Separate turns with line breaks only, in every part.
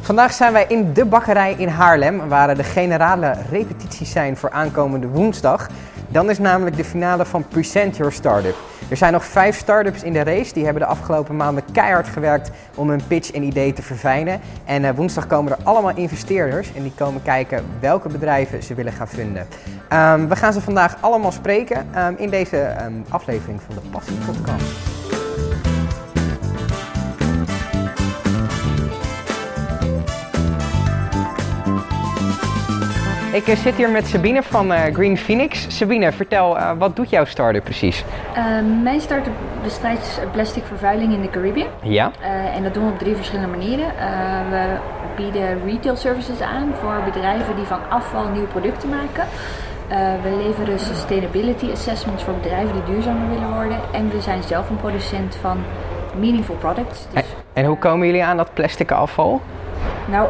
Vandaag zijn wij in de bakkerij in Haarlem, waar de generale repetities zijn voor aankomende woensdag. Dan is namelijk de finale van Present Your Startup. Er zijn nog vijf startups in de race. Die hebben de afgelopen maanden keihard gewerkt om hun pitch en idee te verfijnen. En eh, woensdag komen er allemaal investeerders en die komen kijken welke bedrijven ze willen gaan vinden. Ehm, we gaan ze vandaag allemaal spreken ehm, in deze ehm, aflevering van de Passie Podcast. Ik eh, zit hier met Sabine van eh, Green Phoenix. Sabine, vertel, eh, wat doet jouw start-up precies?
Eh, mijn start-up bestrijdt eh, plastic vervuiling in de Caribbean.
Ja.
Eh, en dat doen we op drie verschillende manieren. Eh, we bieden retail services aan voor bedrijven die van afval nieuwe producten maken. Eh, we leveren sustainability assessments voor bedrijven die duurzamer willen worden. En we zijn zelf een producent van meaningful products.
En,
Dus,
en hoe komen jullie aan dat plastic afval?
nou,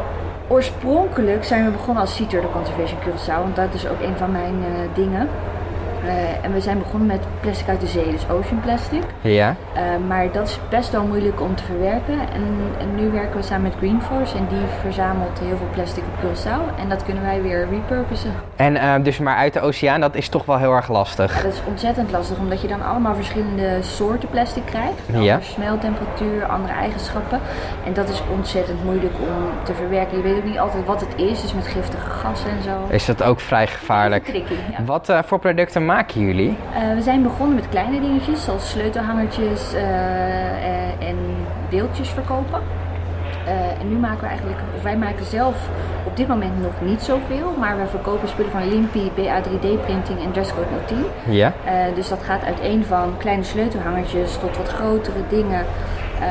oorspronkelijk zijn we begonnen als Seater de Conservation Curaçao. Want dat is ook een van mijn eh, dingen. Eh, en we zijn begonnen met plastic uit de zee, dus ocean plastic.
Ja.
Eh, maar dat is best wel moeilijk om te verwerken. En, en nu werken we samen met Greenforce en die verzamelt heel veel plastic op Curaçao. En dat kunnen wij weer repurposen.
En eh, dus maar uit de oceaan, dat is toch wel heel erg lastig.
Dat is ontzettend lastig omdat je dan allemaal verschillende soorten plastic krijgt.
Ja.
Andere Smeltemperatuur, andere eigenschappen. En dat is ontzettend moeilijk om te verwerken. Je weet ook niet altijd wat het is, dus met giftige gassen en zo.
Is dat ook vrij gevaarlijk?
Tricky, ja.
Wat eh, voor producten maken jullie?
Eh, we zijn begonnen met kleine dingetjes, zoals sleutelhangertjes eh, eh, en deeltjes verkopen. Eh, en nu maken we eigenlijk, of wij maken zelf op dit moment nog niet zoveel, maar we verkopen spullen van Limpy, BA3D printing en Dresscode 010.
Ja.
Eh, dus dat gaat uiteen van kleine sleutelhangertjes tot wat grotere dingen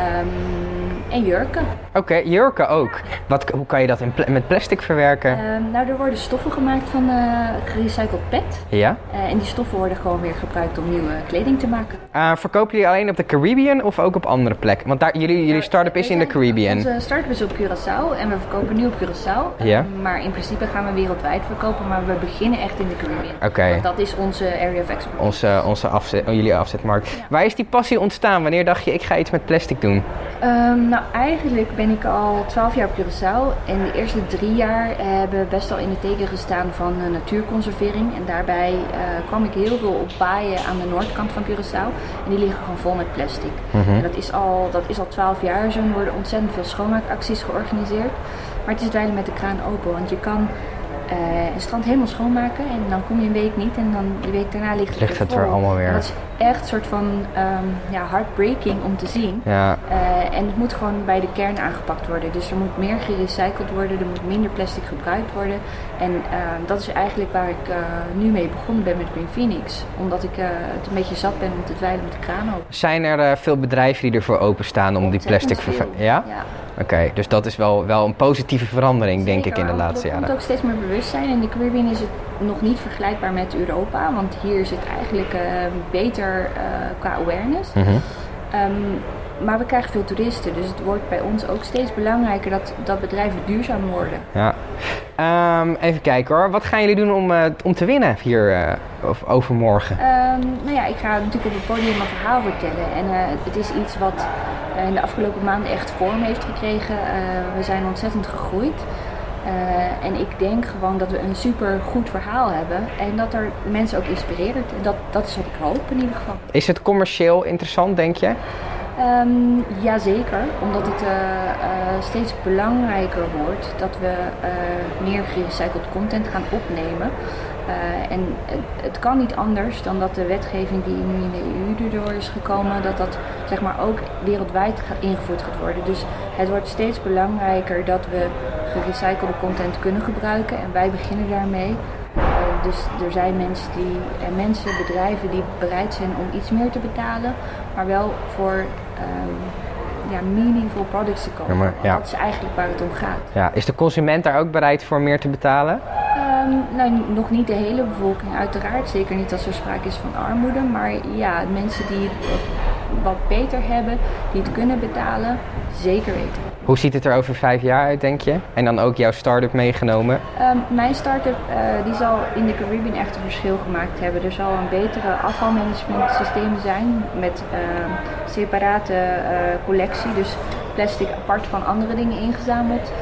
ehm, en jurken.
Oké, jurken ook. Wat, hoe kan je dat in pla- met plastic verwerken?
Ehm, nou, er worden stoffen gemaakt van eh, gerecycled PET.
Ja.
Eh, en die stoffen worden gewoon weer gebruikt om nieuwe kleding te maken.
Eh, verkopen jullie alleen op de Caribbean of ook op andere plekken? Want daar, jullie, jullie start-up is in de
Wij zijn-
Caribbean.
Onze start-up is op Curaçao en we verkopen nu op Curaçao. Ehm,
Ja.
Maar in principe gaan we wereldwijd verkopen, maar we beginnen echt in de Caribbean.
Oké.
Want dat is onze area of expertise.
Onze, onze afzet, oh, jullie afzetmarkt. Waar is die passie ontstaan? Wanneer dacht je, ik ga iets met plastic doen?
Ehm, nou, eigenlijk ben ik al 12 jaar op Curaçao. En de eerste drie jaar hebben we best wel in het teken gestaan van eh, natuurconservering. En daarbij eh, kwam ik heel veel op baaien aan de noordkant van Curaçao. En die liggen gewoon vol met plastic.
Mhm.
En dat is, al, dat is al 12 jaar zo. Er worden ontzettend veel schoonmaakacties georganiseerd. Maar het is dweilen met de kraan open. Want je kan eh, een strand helemaal schoonmaken. En dan kom je een week niet. En dan de week daarna ligt het,
Ligt het er
vol.
allemaal weer.
En dat is echt een soort van ehm, ja, heartbreaking om te zien.
Ja,
Eh, en het moet gewoon bij de kern aangepakt worden. Dus er moet meer gerecycled worden, er moet minder plastic gebruikt worden. En eh, dat is eigenlijk waar ik eh, nu mee begonnen ben met Green Phoenix. Omdat ik eh, het een beetje zat ben om te dweilen met de kraan open.
Zijn er eh, veel bedrijven die ervoor openstaan om die plastic
Ontzettend
vervuiling?
veel.
Ja? Oké, dus dat is wel, wel een positieve verandering, denk ik,
Zeker,
in de
want
laatste
Er
jaren.
komt ook steeds meer bewustzijn. En de Caribbean is het nog niet vergelijkbaar met Europa. Want hier is het eigenlijk eh, beter eh, qua awareness.
Mhm.
Ehm, maar we krijgen veel toeristen. Dus het wordt bij ons ook steeds belangrijker dat, dat bedrijven duurzaam worden.
Ja. Ehm, even kijken hoor. Wat gaan jullie doen om, eh, om te winnen hier eh, of overmorgen?
Ehm, nou ja, ik ga natuurlijk op het podium mijn verhaal vertellen. En eh, het is iets wat eh, in de afgelopen maanden echt vorm heeft gekregen. Eh, we zijn ontzettend gegroeid. Eh, en ik denk gewoon dat we een super goed verhaal hebben. En dat er mensen ook inspireert. En dat, dat is wat ik hoop in ieder geval.
Is het commercieel interessant, denk je?
Ehm, jazeker, omdat het eh, eh, steeds belangrijker wordt dat we eh, meer gerecycled content gaan opnemen. Eh, en het, het kan niet anders dan dat de wetgeving die nu in de EU door is gekomen, dat dat zeg maar ook wereldwijd ga- ingevoerd gaat worden. Dus het wordt steeds belangrijker dat we gerecyclede content kunnen gebruiken en wij beginnen daarmee. Eh, dus er zijn mensen, die, en mensen, bedrijven die bereid zijn om iets meer te betalen, maar wel voor ehm, ja, meaningful products te komen.
Ja, maar- ja.
Dat is eigenlijk waar het om gaat.
Ja. Is de consument daar ook bereid voor meer te betalen?
Ehm, nou, n- nog niet de hele bevolking, uiteraard. Zeker niet als er sprake is van armoede. Maar ja, mensen die het wat- wat beter hebben, die het kunnen betalen, zeker weten.
Hoe ziet het er over vijf jaar uit, denk je? En dan ook jouw start-up meegenomen?
Ehm, mijn start-up eh, die zal in de Caribbean echt een verschil gemaakt hebben. Er zal een betere afvalmanagement systeem zijn met ehm, separate eh, collectie, dus plastic apart van andere dingen ingezameld.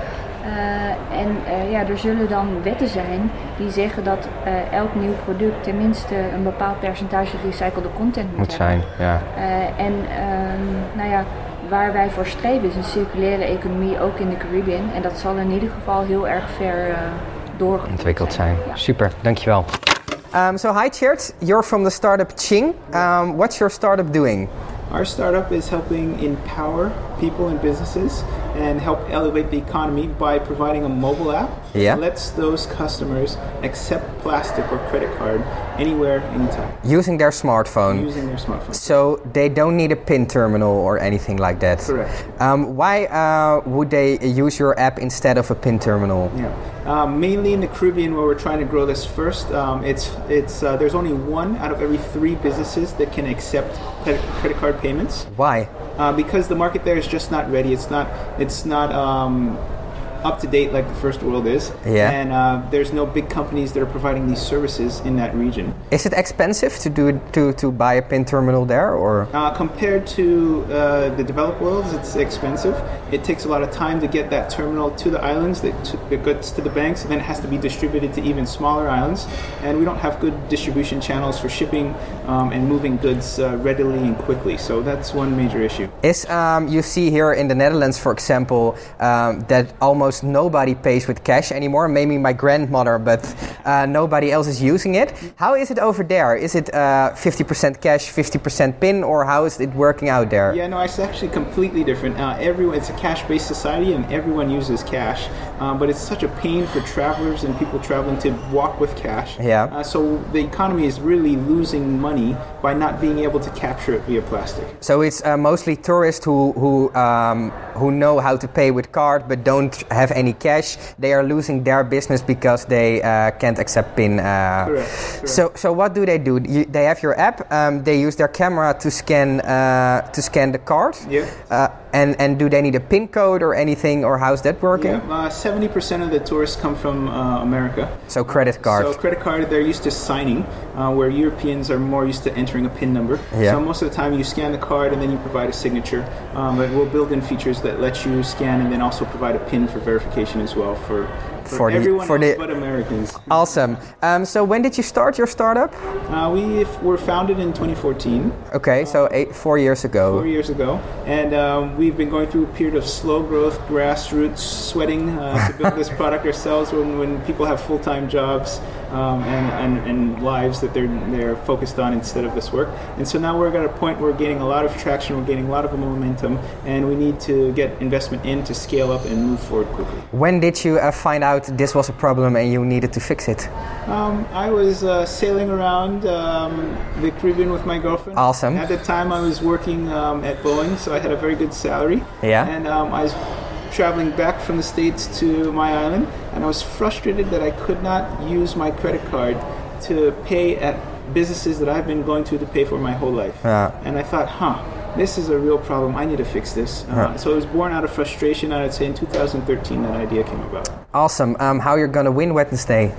Eh, en eh, ja, er zullen dan wetten zijn die zeggen dat eh, elk nieuw product tenminste een bepaald percentage gerecyclede content moet,
Moet
hebben.
zijn, ja.
Eh, en ehm, nou ja, waar wij voor streven is een circulaire economie ook in de Caribbean. En dat zal in ieder geval heel erg ver eh doorgevoerd
Ontwikkeld zijn.
Ja.
Super, dankjewel. Um, so hi Chert, you're from the startup Ching. Um, what's your startup doing?
Our startup is helping empower people and businesses and help elevate the economy by providing a mobile app
Yeah.
that lets those customers accept plastic or credit card anywhere, anytime,
Using their smartphone.
using their smartphone.
So they don't need a PIN terminal or anything like that.
Correct.
Um, why uh, would they use your app instead of a PIN terminal?
Yeah. Um, mainly in the Caribbean, where we're trying to grow this first, um, it's it's uh, there's only one out of every three businesses that can accept credit, credit card payments.
Why?
uh, because the market there is just not ready. It's not it's not um, up to date like the first world is.
Yeah.
And uh, there's no big companies that are providing these services in that region.
Is it expensive to do to to buy a PIN terminal there or?
Uh, compared to uh, the developed worlds, it's expensive. It takes a lot of time to get that terminal to the islands, that to, it gets to the banks, and then it has to be distributed to even smaller islands. And we don't have good distribution channels for shipping um, and moving goods uh, readily and quickly. So that's one major issue.
Is um, you see here in the Netherlands, for example, um, that almost nobody pays with cash anymore. Maybe my grandmother, but uh, nobody else is using it. How is it over there? Is it uh, 50% cash, 50% PIN, or how is it working out there?
Yeah, no, it's actually completely different. Uh, everyone, it's a cash-based society, and everyone uses cash. Um, but it's such a pain for travelers and people traveling to walk with cash.
Yeah.
Uh, so the economy is really losing money by not being able to capture it via plastic.
So it's uh, mostly tourists who who um, who know how to pay with card but don't have any cash. They are losing their business because they uh, can't accept PIN. Uh,
Correct, correct.
So so what do they do? You, they have your app. Um, they use their camera to scan uh, to scan the card.
Yeah.
Uh, and and do they need a PIN code or anything or how's that working?
Uh, Seventy percent of the tourists come from uh, America.
So credit card.
So credit card, they're used to signing, uh, where Europeans are more used to entering a PIN number.
Yeah.
So most of the time, you scan the card and then you provide a signature. Um, but we'll build in features that let you scan and then also provide a PIN for verification as well for for,
For the-
everyone
for
else
the-
but Americans.
Awesome. Um, so when did you start your startup?
Uh, we f- were founded in 2014,
Okay, so eight, four years ago.
four years ago, and um, we've been going through a period of slow growth, grassroots, sweating uh, to build this product ourselves. When, when people have full-time jobs um, and, and, and lives that they're they're focused on instead of this work, and so now we're at a point where we're gaining a lot of traction, we're gaining a lot of momentum, and we need to get investment in to scale up and move forward quickly.
When did you uh, find out this was a problem and you needed to fix it?
Um, I was uh, sailing around um, the Caribbean with my girlfriend.
Awesome.
At the time, I was working um, at Boeing, so I had a very good salary.
Yeah.
And um, I was traveling back from the States to my island, and I was frustrated that I could not use my credit card to pay at businesses that I've been going to to pay for my whole life.
Yeah.
And I thought, huh, this is a real problem. I need to fix this. Uh, So it was born out of frustration, and I'd say in 2013 that idea came about.
Awesome. Um, how you're gonna win Wednesday?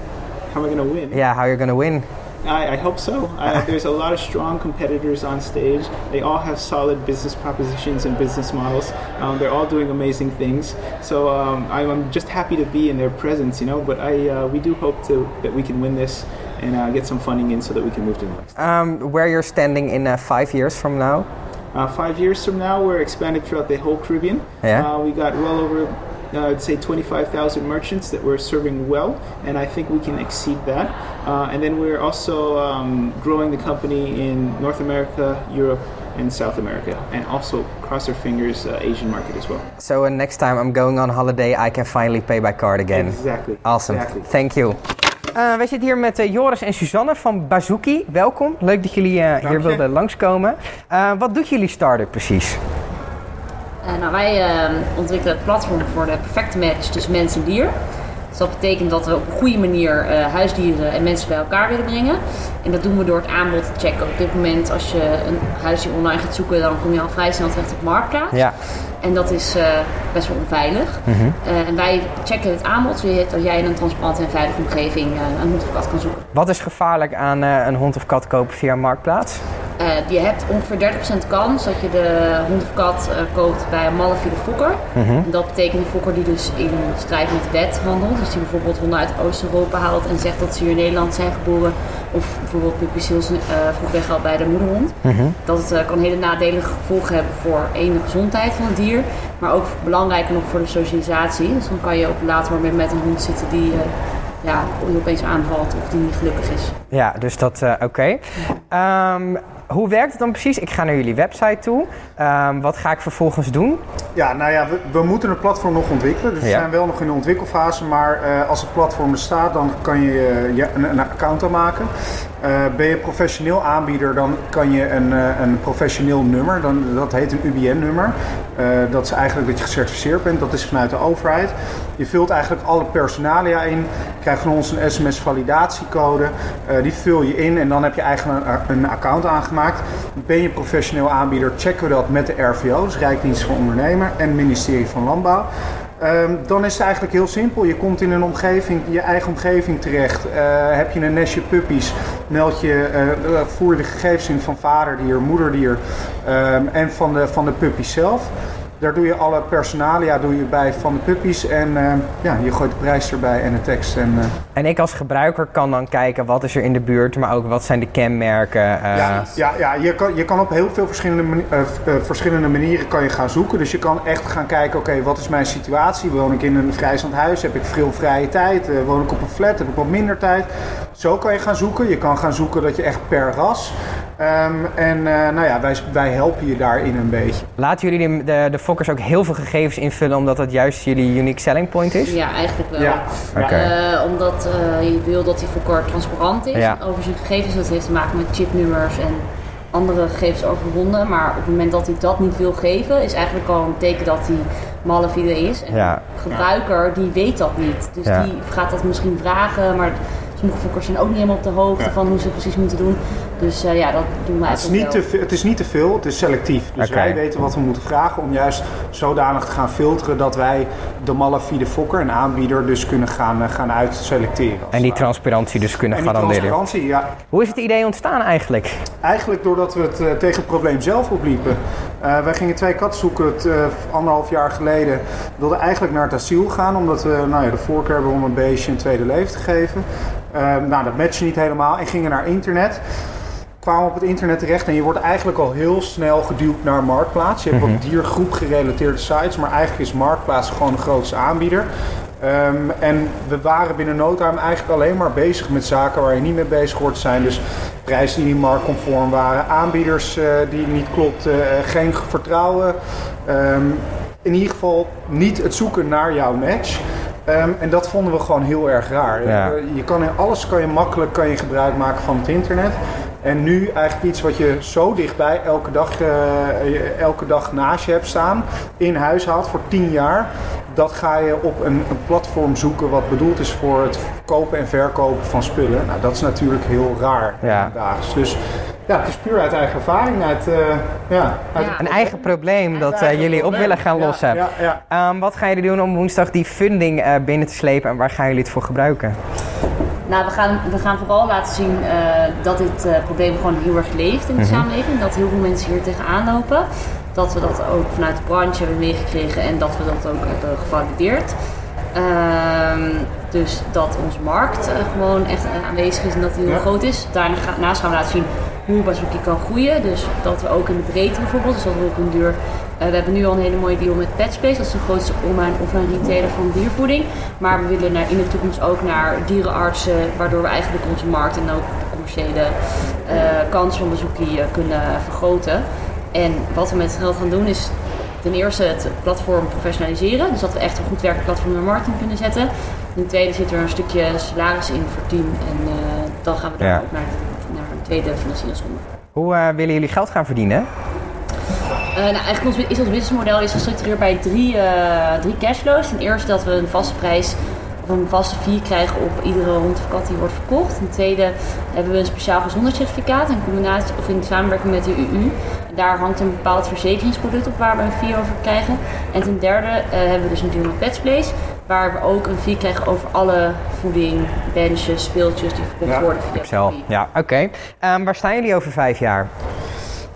How am I going to win?
Yeah, how you're gonna win?
I, I hope so. Uh, there's a lot of strong competitors on stage. They all have solid business propositions and business models. Um, they're all doing amazing things. So um, I'm, I'm just happy to be in their presence, you know. But I, uh, we do hope to that we can win this and uh, get some funding in so that we can move to the next.
Um, where you're standing in uh, five years from now?
Uh, five years from now, we're expanded throughout the whole Caribbean.
Yeah.
Uh, we got well over, uh, I'd say, 25,000 merchants that we're serving well, and I think we can exceed that. Uh, and then we're also um, growing the company in North America, Europe, and South America, and also cross our fingers, uh, Asian market as well.
So uh, next time I'm going on holiday, I can finally pay by card again.
Exactly.
Awesome.
Exactly.
Thank you. Uh, wij zitten hier met eh, Joris en Suzanne van Bazooki. Welkom. Leuk dat jullie eh, hier
je.
wilden langskomen. Eh, wat doet jullie startup precies?
Eh, nou, wij eh, ontwikkelen het platform voor de perfecte match tussen mens en dier. Dus dat betekent dat we op een goede manier eh, huisdieren en mensen bij elkaar willen brengen. En dat doen we door het aanbod te checken. Op dit moment, als je een huisdier online gaat zoeken, dan kom je al vrij snel terecht op Marktplaats.
Ja.
En dat is eh, best wel onveilig. Eh, en wij checken het aanbod, zodat jij in een transparante en veilige omgeving eh, een hond of kat kan zoeken.
Wat is gevaarlijk aan eh, een hond of kat kopen via Marktplaats?
Eh, je hebt ongeveer 30% kans dat je de hond of kat eh, koopt bij een malafide fokker. En Dat betekent een fokker die dus in strijd met de wet handelt. Dus die bijvoorbeeld honden uit Oost-Europa haalt en zegt dat ze hier in Nederland zijn geboren. Of bijvoorbeeld pupiciels eh vroeg weghaalt bij de moederhond. Dat het, eh, kan hele nadelige gevolgen hebben voor één de gezondheid van het dier. Maar ook belangrijker nog voor de socialisatie. Dus dan kan je ook later weer met een hond zitten die... eh, ja, je opeens aanvalt of die niet gelukkig is.
Ja, dus dat, eh, oké. Ehm, hoe werkt het dan precies? Ik ga naar jullie website toe. Ehm, wat ga ik vervolgens doen?
Ja, nou ja, we, we moeten een platform nog ontwikkelen. Dus we
Ja.
zijn wel nog in de ontwikkelfase. Maar eh, als het platform er staat, dan kan je, eh, je een, een account aanmaken. Eh, ben je een professioneel aanbieder, dan kan je een, eh, een professioneel nummer. Dan, dat heet een UBN-nummer. Eh, dat is eigenlijk dat je gecertificeerd bent. Dat is vanuit de overheid. Je vult eigenlijk alle personalia in. Krijgt van ons een sms-validatiecode. Eh, die vul je in en dan heb je eigenlijk een, een account aangemaakt. Ben je professioneel aanbieder, checken we dat met de RVO, dus Rijksdienst van Ondernemer en het ministerie van Landbouw. Ehm, dan is het eigenlijk heel simpel. Je komt in een omgeving, je eigen omgeving terecht. Eh, heb je een nestje puppies, meld je, eh, eh, voer de gegevens in van vaderdier, moederdier ehm, en van de, van de puppies zelf. Daar doe je alle personalia doe je bij van de puppies en ehm, ja, je gooit de prijs erbij en de tekst. En, eh,
En ik als gebruiker kan dan kijken wat is er in de buurt, maar ook wat zijn de kenmerken. eh,
Ja, ja, ja je, kan, je kan op heel veel verschillende, mani- eh, v- eh, verschillende manieren kan je gaan zoeken. Dus je kan echt gaan kijken, oké, wat is mijn situatie? Woon ik in een vrijstaand huis? Heb ik veel vrije tijd? Eh, woon ik op een flat? Heb ik wat minder tijd? Zo kan je gaan zoeken. Je kan gaan zoeken dat je echt per ras. Ehm, en eh, nou ja, wij, wij helpen je daarin een beetje.
Laten jullie de, de, de fokkers ook heel veel gegevens invullen, omdat dat juist jullie unique selling point is?
Ja, eigenlijk wel.
Ja.
Oké.
Eh, omdat eh, je wil dat die voorkort transparant is.
Ja.
Over zijn gegevens, dat heeft te maken met chipnummers en andere gegevens over honden. Maar op het moment dat hij dat niet wil geven, is eigenlijk al een teken dat hij malafide is. En
Ja.
de gebruiker, die weet dat niet. Dus
Ja.
die gaat dat misschien vragen, maar sommige fokkers zijn ook niet helemaal op de hoogte
Ja.
van hoe ze precies moeten doen. Dus eh, ja, dat doen wij
Het is, niet te, ve- het is niet te veel, het is selectief. Dus
Oké.
wij weten wat we moeten vragen om juist zodanig te gaan filteren dat wij de malafide fokker, een aanbieder, dus kunnen gaan, eh, gaan uitselecteren. als
En die
het ware.
transparantie dus kunnen
en die
garanderen.
transparantie, ja.
Hoe is het idee ontstaan eigenlijk?
Eigenlijk doordat we het eh, tegen het probleem zelf opliepen. Eh, wij gingen twee katten zoeken het, eh, anderhalf jaar geleden. We wilden eigenlijk naar het asiel gaan, omdat we nou ja, de voorkeur hebben om een beestje een tweede leven te geven. Eh, nou, dat matchte niet helemaal en gingen naar internet kwamen op het internet terecht en je wordt eigenlijk al heel snel geduwd naar Marktplaats. Je hebt wat diergroep gerelateerde sites, maar eigenlijk is Marktplaats gewoon de grootste aanbieder. Ehm, en we waren binnen no time eigenlijk alleen maar bezig met zaken waar je niet mee bezig hoort te zijn. Dus prijzen die niet marktconform waren, aanbieders eh, die niet klopten, eh, geen ge- vertrouwen. Ehm, in ieder geval niet het zoeken naar jouw match. Ehm, en dat vonden we gewoon heel erg raar.
Ja.
Eh, je kan in alles kan je makkelijk kan je gebruik maken van het internet. En nu eigenlijk iets wat je zo dichtbij elke dag, eh, je- elke dag naast je hebt staan, in huis haalt voor 10 jaar. Dat ga je op een, een platform zoeken wat bedoeld is voor het kopen en verkopen van spullen. Nou, dat is natuurlijk heel raar
Ja.
daags. Dus ja, het is puur uit eigen ervaring. Uit, eh, ja, uit
Ja.
Een eigen probleem dat eh, jullie op willen gaan
Ja,
lossen.
ja, ja.
Ehm, wat gaan jullie doen om woensdag die funding eh, binnen te slepen en waar gaan jullie het voor gebruiken?
Nou, we gaan, we gaan vooral laten zien eh, dat dit eh, probleem gewoon heel erg leeft in de samenleving. Dat heel veel mensen hier tegenaan lopen. Dat we dat ook vanuit de branche hebben meegekregen en dat we dat ook hebben gevalideerd. Ehm, dus dat onze markt eh, gewoon echt eh, aanwezig is en dat die heel
Ja.
groot is. Daarnaast gaan we laten zien hoe Bazooki kan groeien. Dus dat we ook in de breedte bijvoorbeeld, dus dat we op een duur... eh, we hebben nu al een hele mooie deal met Petspace. Dat is de grootste online en offline retailer van diervoeding. Maar we willen naar, in de toekomst ook naar dierenartsen, waardoor we eigenlijk onze markt en ook de commerciële eh, kans van Bazooki eh, kunnen vergroten. En wat we met het geld gaan doen is ten eerste het platform professionaliseren. Dus dat we echt een goed werkend platform naar marketing kunnen zetten. Ten tweede zit er een stukje salaris in voor het team. En eh, dan gaan we daar
Ja.
ook naar, naar een tweede financieringsronde.
Hoe eh, willen jullie geld gaan verdienen?
Eh, nou, eigenlijk ons, is ons businessmodel is gestructureerd bij drie, eh, drie cashflows. Ten eerste dat we een vaste prijs of een vaste fee krijgen op iedere hond of kat die wordt verkocht. Ten tweede hebben we een speciaal gezondheidscertificaat in combinatie of in samenwerking met de UU. Daar hangt een bepaald verzekeringsproduct op waar we een fee over krijgen. En ten derde eh, hebben we dus een deal met Pets Place, waar we ook een fee krijgen over alle voeding, benches, speeltjes die verkocht
Ja,
worden via
Upsell.
Bazooki.
Ja, oké. Ehm, waar staan jullie over vijf jaar?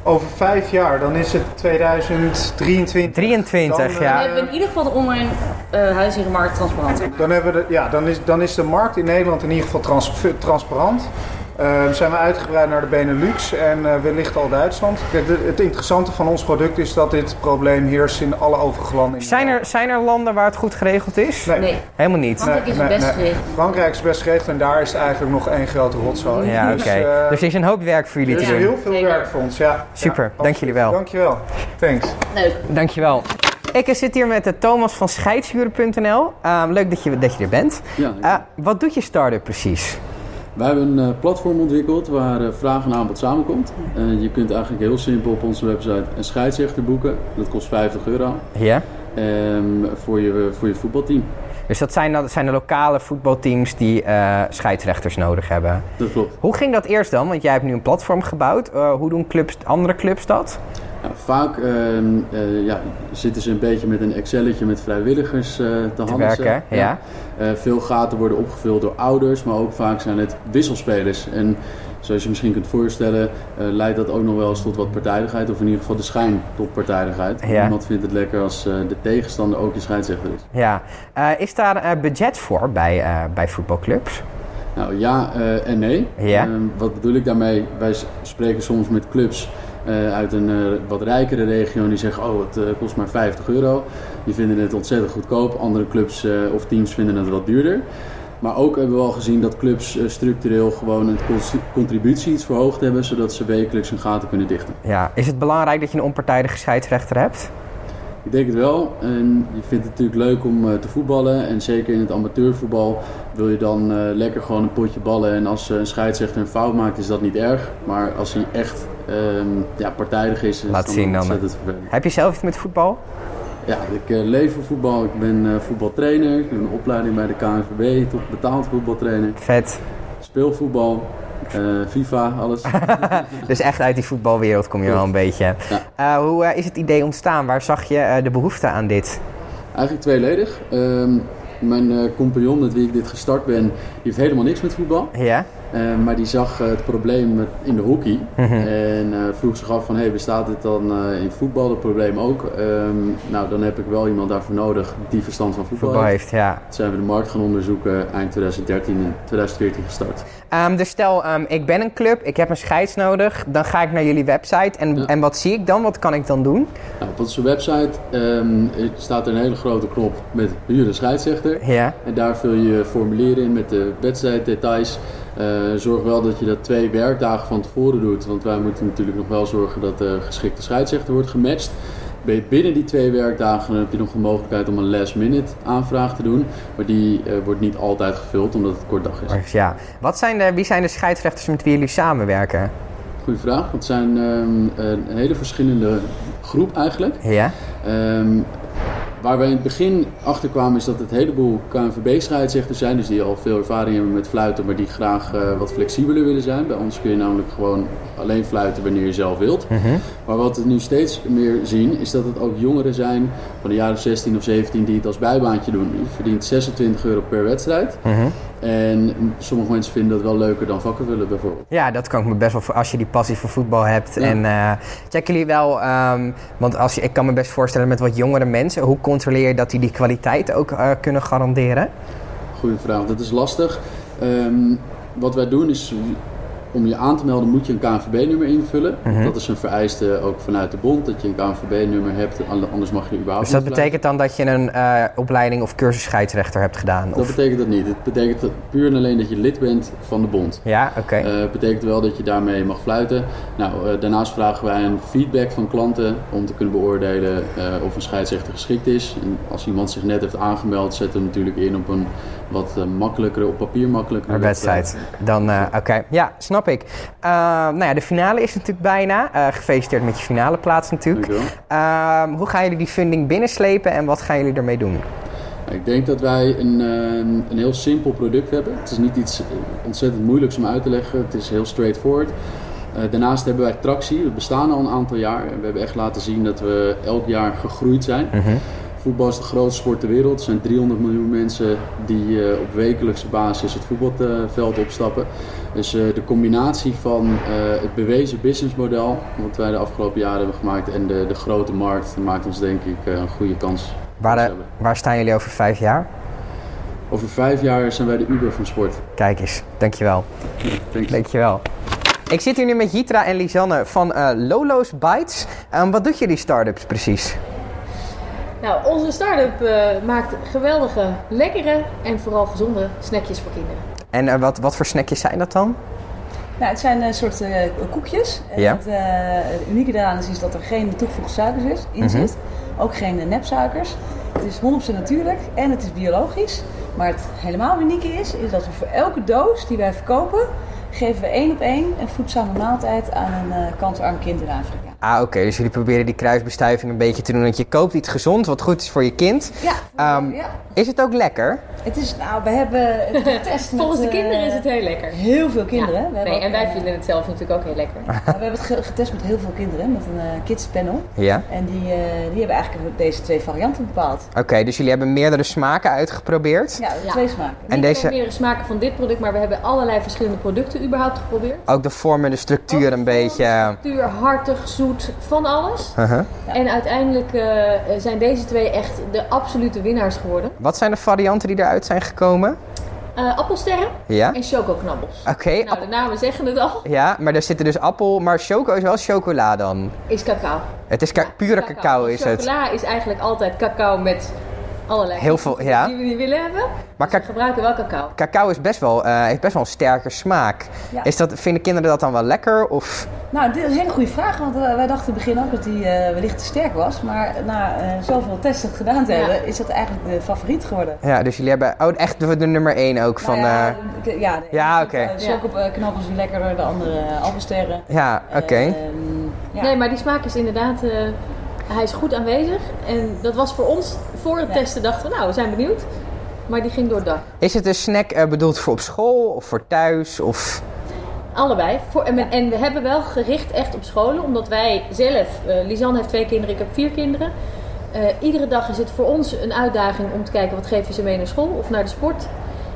over vijf jaar, dan is het 2023.
23,
Dan, eh,
Dan
ja.
hebben we in ieder geval de online eh huizingenmarkt transparant.
Dan, hebben we de, ja, dan, is, dan is de markt in Nederland in ieder geval trans- transparant. Eh, zijn we uitgebreid naar de Benelux en eh, wellicht al Duitsland. Kijk, de- het interessante van ons product is dat dit probleem heerst in alle overige landen. in
Zijn er, zijn er landen waar het goed geregeld is?
Nee.
Nee,
Helemaal niet.
Frankrijk is het best geregeld.
Frankrijk is best geregeld en daar is het eigenlijk nog één grote rotzooi.
Ja, oké.
Dus, eh,
Dus er is een hoop werk voor jullie
er
te
is
Ja.
doen.
heel veel
Zeker.
werk voor ons, ja.
Super,
Ja,
dank jullie wel.
Dankjewel. Thanks.
leuk.
Dankjewel. Ik eh, zit hier met eh, Thomas van scheidshuren.nl. Ehm, leuk dat je, dat je er bent.
Ja,
Eh, wat doet je start-up precies?
wij hebben een eh, platform ontwikkeld waar eh, vraag en aanbod samenkomt. Eh, je kunt eigenlijk heel simpel op onze website een scheidsrechter boeken. Dat kost 50 euro
Ja.
ehm, voor, je, voor je voetbalteam.
Dus dat zijn, dat zijn de lokale voetbalteams die eh, scheidsrechters nodig hebben.
Dat klopt.
Hoe ging dat eerst dan? Want jij hebt nu een platform gebouwd. Eh, hoe doen clubs, andere clubs dat?
Ja, Nou, vaak ehm, eh, ja, zitten ze een beetje met een Excelletje met vrijwilligers eh, te handen.
werken,
zeg.
ja.
Eh, veel gaten worden opgevuld door ouders, maar ook vaak zijn het wisselspelers. En zoals je misschien kunt voorstellen, eh, leidt dat ook nog wel eens tot wat partijdigheid. Of in ieder geval de schijn tot partijdigheid.
Ja.
Niemand vindt het lekker als eh, de tegenstander ook je scheidsrechter is.
Ja. Eh, is daar eh, budget voor bij, eh, bij voetbalclubs?
Nou ja eh, en nee.
Ja.
Ehm, wat bedoel ik daarmee? Wij s- spreken soms met clubs eh, uit een eh, wat rijkere regio en die zeggen: Oh, het eh, kost maar 50 euro. Die vinden het ontzettend goedkoop. Andere clubs eh, of teams vinden het wat duurder. Maar ook hebben we al gezien dat clubs eh, structureel gewoon een cons- contributie iets verhoogd hebben, zodat ze wekelijks hun gaten kunnen dichten.
Ja. Is het belangrijk dat je een onpartijdige scheidsrechter hebt?
Ik denk het wel. En je vindt het natuurlijk leuk om eh, te voetballen. En zeker in het amateurvoetbal wil je dan eh, lekker gewoon een potje ballen. En als eh, een scheidsrechter een fout maakt, is dat niet erg. Maar als hij echt ehm, ja, partijdig is, is
Laat
het dan
zien dan.
ontzettend vervelend.
Heb je zelf iets met voetbal?
Ja, ik eh, leef voor voetbal. Ik ben eh, voetbaltrainer. Ik doe een opleiding bij de KNVB tot betaald voetbaltrainer.
Vet.
Speel voetbal, eh, FIFA, alles.
Dus echt uit die voetbalwereld kom je wel een beetje. Eh, hoe eh, is het idee ontstaan? Waar zag je eh, de behoefte aan dit?
Eigenlijk tweeledig. Ehm, mijn eh, compagnon met wie ik dit gestart ben, die heeft helemaal niks met voetbal.
Ja?
Eh, maar die zag eh, het probleem met- in de hockey. En eh, vroeg zich af van, hey, bestaat dit dan eh, in voetbal, dat probleem ook? Ehm, nou, dan heb ik wel iemand daarvoor nodig die verstand van voetbal,
Voetbal
heeft.
heeft, ja.
Toen zijn we de markt gaan onderzoeken, eind 2013 en 2014 gestart.
Ehm, dus stel, ehm, ik ben een club, ik heb een scheids nodig. Dan ga ik naar jullie website. En,
Ja.
en wat zie ik dan? Wat kan ik dan doen?
Nou, op onze website ehm, staat er een hele grote knop met huur een scheidsrechter.
Ja.
En daar vul je formulieren in met de wedstrijddetails. Eh, zorg wel dat je dat twee werkdagen van tevoren doet. Want wij moeten natuurlijk nog wel zorgen dat de geschikte scheidsrechter wordt gematcht. Ben je binnen die twee werkdagen dan heb je nog de mogelijkheid om een last minute aanvraag te doen. Maar die eh, wordt niet altijd gevuld omdat het kort dag is.
Dus ja. Wat zijn de, wie zijn de scheidsrechters met wie jullie samenwerken?
Goeie vraag. Het zijn ehm, een hele verschillende groep eigenlijk.
Ja.
Ehm, waar wij in het begin achter kwamen is dat het een heleboel KNVB-scheidsrechters zijn, dus die al veel ervaring hebben met fluiten, maar die graag eh, wat flexibeler willen zijn. Bij ons kun je namelijk gewoon alleen fluiten wanneer je zelf wilt. Maar wat we nu steeds meer zien is dat het ook jongeren zijn van de jaren of 16 of 17 die het als bijbaantje doen. Je verdient 26 euro per wedstrijd. En sommige mensen vinden dat wel leuker dan vakken willen bijvoorbeeld.
Ja, dat kan ik me best wel voor als je die passie voor voetbal hebt.
Ja.
En eh, checken jullie wel, ehm, want als je, ik kan me best voorstellen met wat jongere mensen, hoe controleer je dat die die kwaliteit ook eh, kunnen garanderen?
Goeie vraag, dat is lastig. Ehm, wat wij doen is, om je aan te melden moet je een KNVB-nummer invullen.
Mhm.
Dat is een vereiste ook vanuit de bond, dat je een KNVB-nummer hebt, an- anders mag je überhaupt
Dus dat
niet blijven.
betekent dan dat je een eh, opleiding of cursus scheidsrechter hebt gedaan?
Dat
Of,
betekent dat niet. Het betekent dat puur en alleen dat je lid bent van de bond.
ja, oké.
Eh, betekent wel dat je daarmee mag fluiten. Nou, eh, daarnaast vragen wij een feedback van klanten om te kunnen beoordelen eh, of een scheidsrechter geschikt is. En als iemand zich net heeft aangemeld, zet hem natuurlijk in op een wat eh, makkelijkere, op papier makkelijkere
Een wedstrijd. Dan, eh, oké. Ja, snap ik. Eh, nou ja, de finale is natuurlijk bijna. Eh, gefeliciteerd met je finale plaats natuurlijk.
Dankjewel.
Ehm, hoe gaan jullie die funding binnenslepen en wat gaan jullie ermee doen?
Ik denk dat wij een, eh, een heel simpel product hebben. Het is niet iets eh, ontzettend moeilijks om uit te leggen. Het is heel straightforward. Eh, daarnaast hebben wij
Mhm.
tractie. We bestaan al een aantal jaar. En We hebben echt laten zien dat we elk jaar gegroeid zijn. Voetbal is de grootste sport ter wereld. Er zijn 300 miljoen mensen die eh, op wekelijkse basis het voetbalveld opstappen. Dus eh, de combinatie van eh, het bewezen businessmodel, wat wij de afgelopen jaren hebben gemaakt, en de, de grote markt, maakt ons denk ik eh, een goede kans.
Waar, eh, waar staan jullie over vijf jaar?
Over vijf jaar zijn wij de Uber van sport.
Kijk eens, dankjewel.
Thanks.
Dankjewel. Ik zit hier nu met Jitra en Lisanne van eh, Lolo's Bites. Ehm, wat doet jullie startups precies?
Nou, onze start-up eh, maakt geweldige, lekkere en vooral gezonde snackjes voor kinderen.
En eh, wat, wat voor snackjes zijn dat dan?
Nou, het zijn een soort eh, koekjes. En
Ja.
Het eh, het unieke daaraan is, is dat er geen toegevoegde suikers is, in
Mhm.
zit. Ook geen eh, nepsuikers. Het is 100% natuurlijk en het is biologisch. Maar het helemaal unieke is, is dat we voor elke doos die wij verkopen... geven we één op één een voedzame maaltijd aan een eh, kansarm kind in Afrika.
Ah, oké. Dus jullie proberen die kruisbestuiving een beetje te doen. Dat je koopt iets gezond, wat goed is voor je kind.
Ja,
Ehm,
ja.
Is het ook lekker?
Het is, nou, we hebben het getest met,
Volgens de
eh,
kinderen is het heel lekker.
Heel veel kinderen.
Ja.
we, hebben
Nee,
ook,
en wij
eh,
vinden het zelf natuurlijk ook heel lekker.
Ah,
we hebben het ge- getest met heel veel kinderen, met een eh, kidspanel.
Ja.
En die, eh, die hebben eigenlijk deze twee varianten bepaald.
Oké, dus jullie hebben meerdere smaken uitgeprobeerd.
Ja,
Ja.
twee smaken.
En
En
deze-
deze... proberen smaken van dit product, maar we hebben allerlei verschillende producten überhaupt geprobeerd.
Ook de vorm en de structuur een beetje. eh,
Puur, hartig, zoet, van alles.
Uh-huh.
En uiteindelijk eh, zijn deze twee echt de absolute winnaars geworden.
Wat zijn de varianten die eruit zijn gekomen?
Eh, appelsterren
Ja. Ah.
en chocoknabbels.
Oké,
Nou,
app-
de namen zeggen het al.
ja, maar daar zitten dus appel, maar choco is wel chocola dan.
Is cacao.
Het is ka- pure cacao is het.
Chocola is eigenlijk altijd cacao met allerlei
Heel veel,
ingrediënten
ja.
die we niet willen hebben.
Maar
Maar we
kijk,
gebruiken wel cacao.
cacao is best wel, eh, heeft best wel een sterke smaak.
Ja.
Is dat, vinden kinderen dat dan wel lekker? Of,
Nou, dit is een hele goede vraag, want eh, wij dachten in het begin ook dat die eh, wellicht te sterk was. Maar na eh, zoveel testen gedaan te
Ja.
hebben, is dat eigenlijk de favoriet geworden.
ja, dus jullie hebben oh, echt de, de nummer 1 ook van...
Nou ja,
eh,
ik- ja, de
ja, oké.
eh, Chocoknabbels is lekkerder, de andere eh, appelsterren.
ja, oké.
Ehm, ja.
Nee, maar die smaak is inderdaad... eh, hij is goed aanwezig. En dat was voor ons... Voor het
Ja.
testen dachten we, nou, we zijn benieuwd. Maar die ging door het dak.
Is het een snack eh, bedoeld voor op school of voor thuis? Of,
Allebei. Voor, en, we- en we hebben wel gericht echt op scholen, omdat wij zelf, eh Lisanne heeft twee kinderen, ik heb vier kinderen. Eh, iedere dag is het voor ons een uitdaging om te kijken wat geef je ze mee naar school of naar de sport.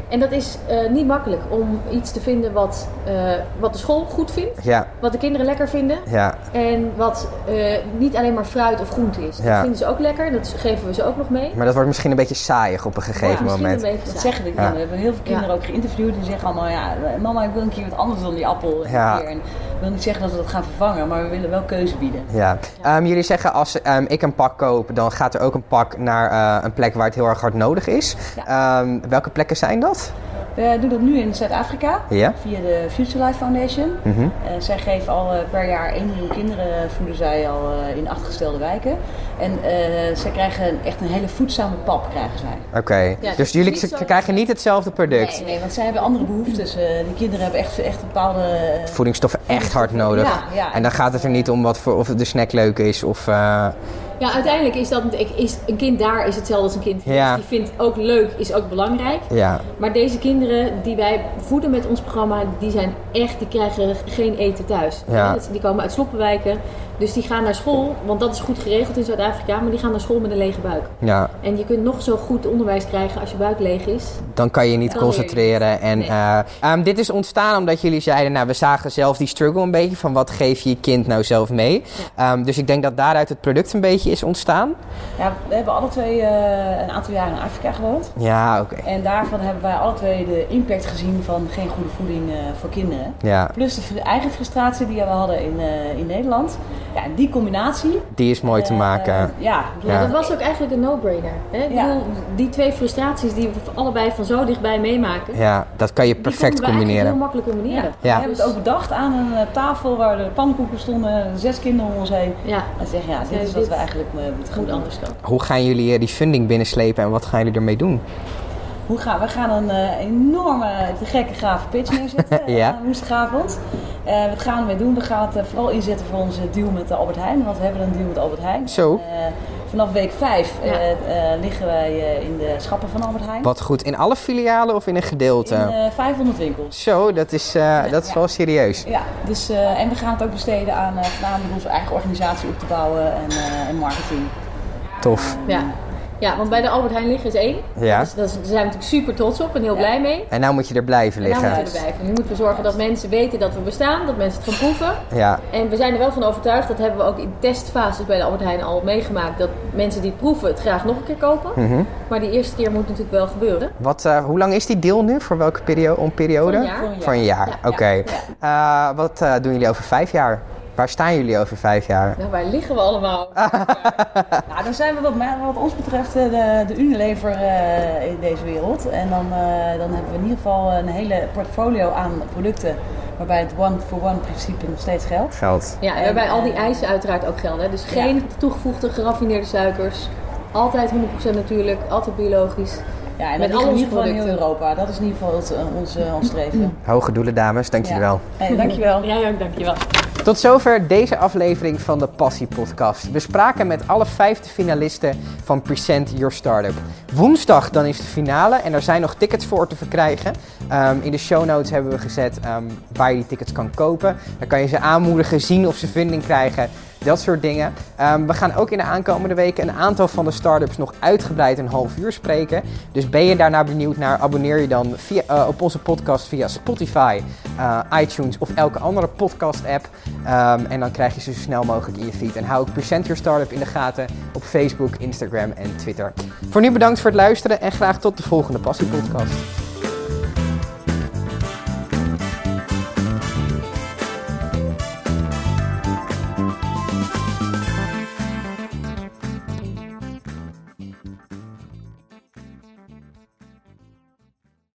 En dat is eh, niet makkelijk om iets te vinden wat, eh, wat de school goed vindt,
ja,
wat de kinderen lekker vinden.
ja.
En wat eh, niet alleen maar fruit of groente is.
Ja.
Dat vinden ze ook lekker, dat geven we ze ook nog mee.
Maar dat wordt misschien een beetje saaiig op een gegeven
Misschien
moment.
een beetje
Dat
saai.
zeggen de kinderen. We hebben heel veel kinderen
Ja.
ook geïnterviewd. Die zeggen allemaal, ja, "Eh, mama, ik wil een keer wat anders dan die appel.
Ja.
Een keer. En ik wil niet zeggen dat we dat gaan vervangen, maar we willen wel keuze bieden.
Ja. Ehm, jullie zeggen als ehm, ik een pak koop, dan gaat er ook een pak naar eh, een plek waar het heel erg hard nodig is. Ehm, welke plekken zijn dat?
We doen Eh, dat nu in Zuid-Afrika.
Ja.
Via de Future Life Foundation.
Mhm.
Eh, zij geven al eh, per jaar 1 miljoen kinderen, voeden zij al eh, in gestelde wijken. En eh, zij krijgen een- echt een hele voedzame pap, krijgen zij.
Oké.
het
dus
is
jullie
niet
k-
zo-
krijgen niet hetzelfde product.
Nee, nee, want zij hebben andere behoeftes. Eh, die kinderen hebben echt, echt bepaalde... eh,
Voedingsstoffen echt hard nodig.
Ja, ja.
En dan gaat het er niet om wat voor, of de snack leuk is of... eh,
Ja, uiteindelijk is dat is een kind daar is hetzelfde als een kind hier.
Ja.
Dus die vindt ook leuk, is ook belangrijk.
ja.
Maar deze kinderen die wij voeden met ons programma, die zijn echt, die krijgen geen eten thuis. dus
Ja.
Die komen uit sloppenwijken, dus die gaan naar school, want dat is goed geregeld in Zuid-Afrika, maar die gaan naar school met een lege buik.
ja,
En je kunt nog zo goed onderwijs krijgen als je buik leeg is.
dan kan je niet
Dan
concentreren. En,
Nee.
eh, ehm, dit is ontstaan omdat jullie zeiden, nou, we zagen zelf die struggle een beetje van wat geef je je kind nou zelf mee. Ehm, dus ik denk dat daaruit het product een beetje is ontstaan.
ja, we hebben alle twee eh, een aantal jaren in Afrika gewoond.
Ja, oké.
En daarvan hebben wij alle twee de impact gezien van geen goede voeding eh, voor kinderen.
Ja,
Plus de fr- eigen frustratie die we hadden in, eh, in Nederland. Ja, en die combinatie...
die is mooi te
eh,
maken.
ja, ik bedoel,
Ja.
Dat was ook eigenlijk een no-brainer. Hè? Ik
Ja.
bedoel, die twee frustraties die we allebei van zo dichtbij meemaken,
Ja, dat kan je
die
perfect
konden we eigenlijk heel
combineren.
makkelijk combineren.
We
Ja,
hebben het ook bedacht aan een eh, tafel waar de pannenkoeken stonden, zes kinderen om ons heen.
ja.
En zeggen, ja, dit
Ja,
is wat
dit
we eigenlijk eh, moeten gaan
Moet
doen.
anders dan.
hoe gaan jullie eh, die funding binnenslepen en wat gaan jullie ermee doen?
Hoe gaan we? gaan een eh, enorme, te gekke, gave pitch neerzetten eh,
Ja.
aan woensdagavond. Eh, wat gaan we ermee doen? We gaan het eh, vooral inzetten voor onze deal met de Albert Heijn. Want we hebben een deal met Albert Heijn.
Zo.
Eh, vanaf week 5
Ja.
liggen wij eh, in de schappen van Albert Heijn.
Wat goed, in alle filialen of in een gedeelte?
In eh, 500 winkels.
Zo, dat is, eh, dat is wel serieus.
Ja, dus, eh, en we gaan het ook besteden aan eh, voornamelijk onze eigen organisatie op te bouwen en, eh, en marketing.
Tof.
Ja. Ja, want bij de Albert Heijn liggen is één.
Ja.
Dus daar zijn we natuurlijk super trots op en heel blij mee.
En nou moet je er blijven
En daar
liggen.
moeten we blijven. Nu moeten we zorgen dat mensen weten dat we bestaan, dat mensen het gaan proeven.
ja.
En we zijn er wel van overtuigd, dat hebben we ook in testfases bij de Albert Heijn al meegemaakt, dat mensen die het proeven het graag nog een keer kopen.
Mhm.
Maar die eerste keer moet natuurlijk wel gebeuren.
Wat, eh, hoe lang is die deal nu? Voor welke perio om periode?
Voor een jaar. Voor
Voor een jaar,
Ja,
oké. Eh, wat eh, doen jullie over vijf jaar? Waar staan jullie over vijf jaar?
Nou, waar liggen we allemaal?
Nou, dan zijn we wat, mij- wat ons betreft eh, de, de Unilever eh, in deze wereld. En dan, eh, dan hebben we in ieder geval een hele portfolio aan producten waarbij het one-for-one principe nog steeds geldt.
Geld.
Ja, en waarbij al
eh,
die eisen uiteraard ook gelden. hè. Dus geen toegevoegde geraffineerde suikers. Altijd 100% natuurlijk, altijd biologisch.
Ja, en
Met
dat ligt in
al
ieder
onze
geval in heel
producten.
Europa. Dat is in ieder geval het, eh, ons, eh, ons streven.
Hoge doelen, dames. Dank jullie
Ja.
wel.
Hey, dankjewel.
Ja, ook dankjewel.
Tot zover deze aflevering van de Passie Podcast. We spraken met alle vijfde finalisten van Present Your Startup. Woensdag dan is de finale en er zijn nog tickets voor te verkrijgen. Ehm, in de show notes hebben we gezet ehm, waar je die tickets kan kopen. Dan kan je ze aanmoedigen, zien of ze vinding krijgen. Dat soort dingen. Ehm, we gaan ook in de aankomende weken een aantal van de startups nog uitgebreid een half uur spreken. Dus ben je daarna benieuwd naar, abonneer je dan via, eh, op onze podcast via Spotify, eh, iTunes of elke andere podcast-app. Ehm, en dan krijg je ze zo snel mogelijk in je feed. En hou ook Percent Your Startup in de gaten op Facebook, Instagram en Twitter. Voor nu bedankt voor het luisteren en graag tot de volgende Passie Podcast.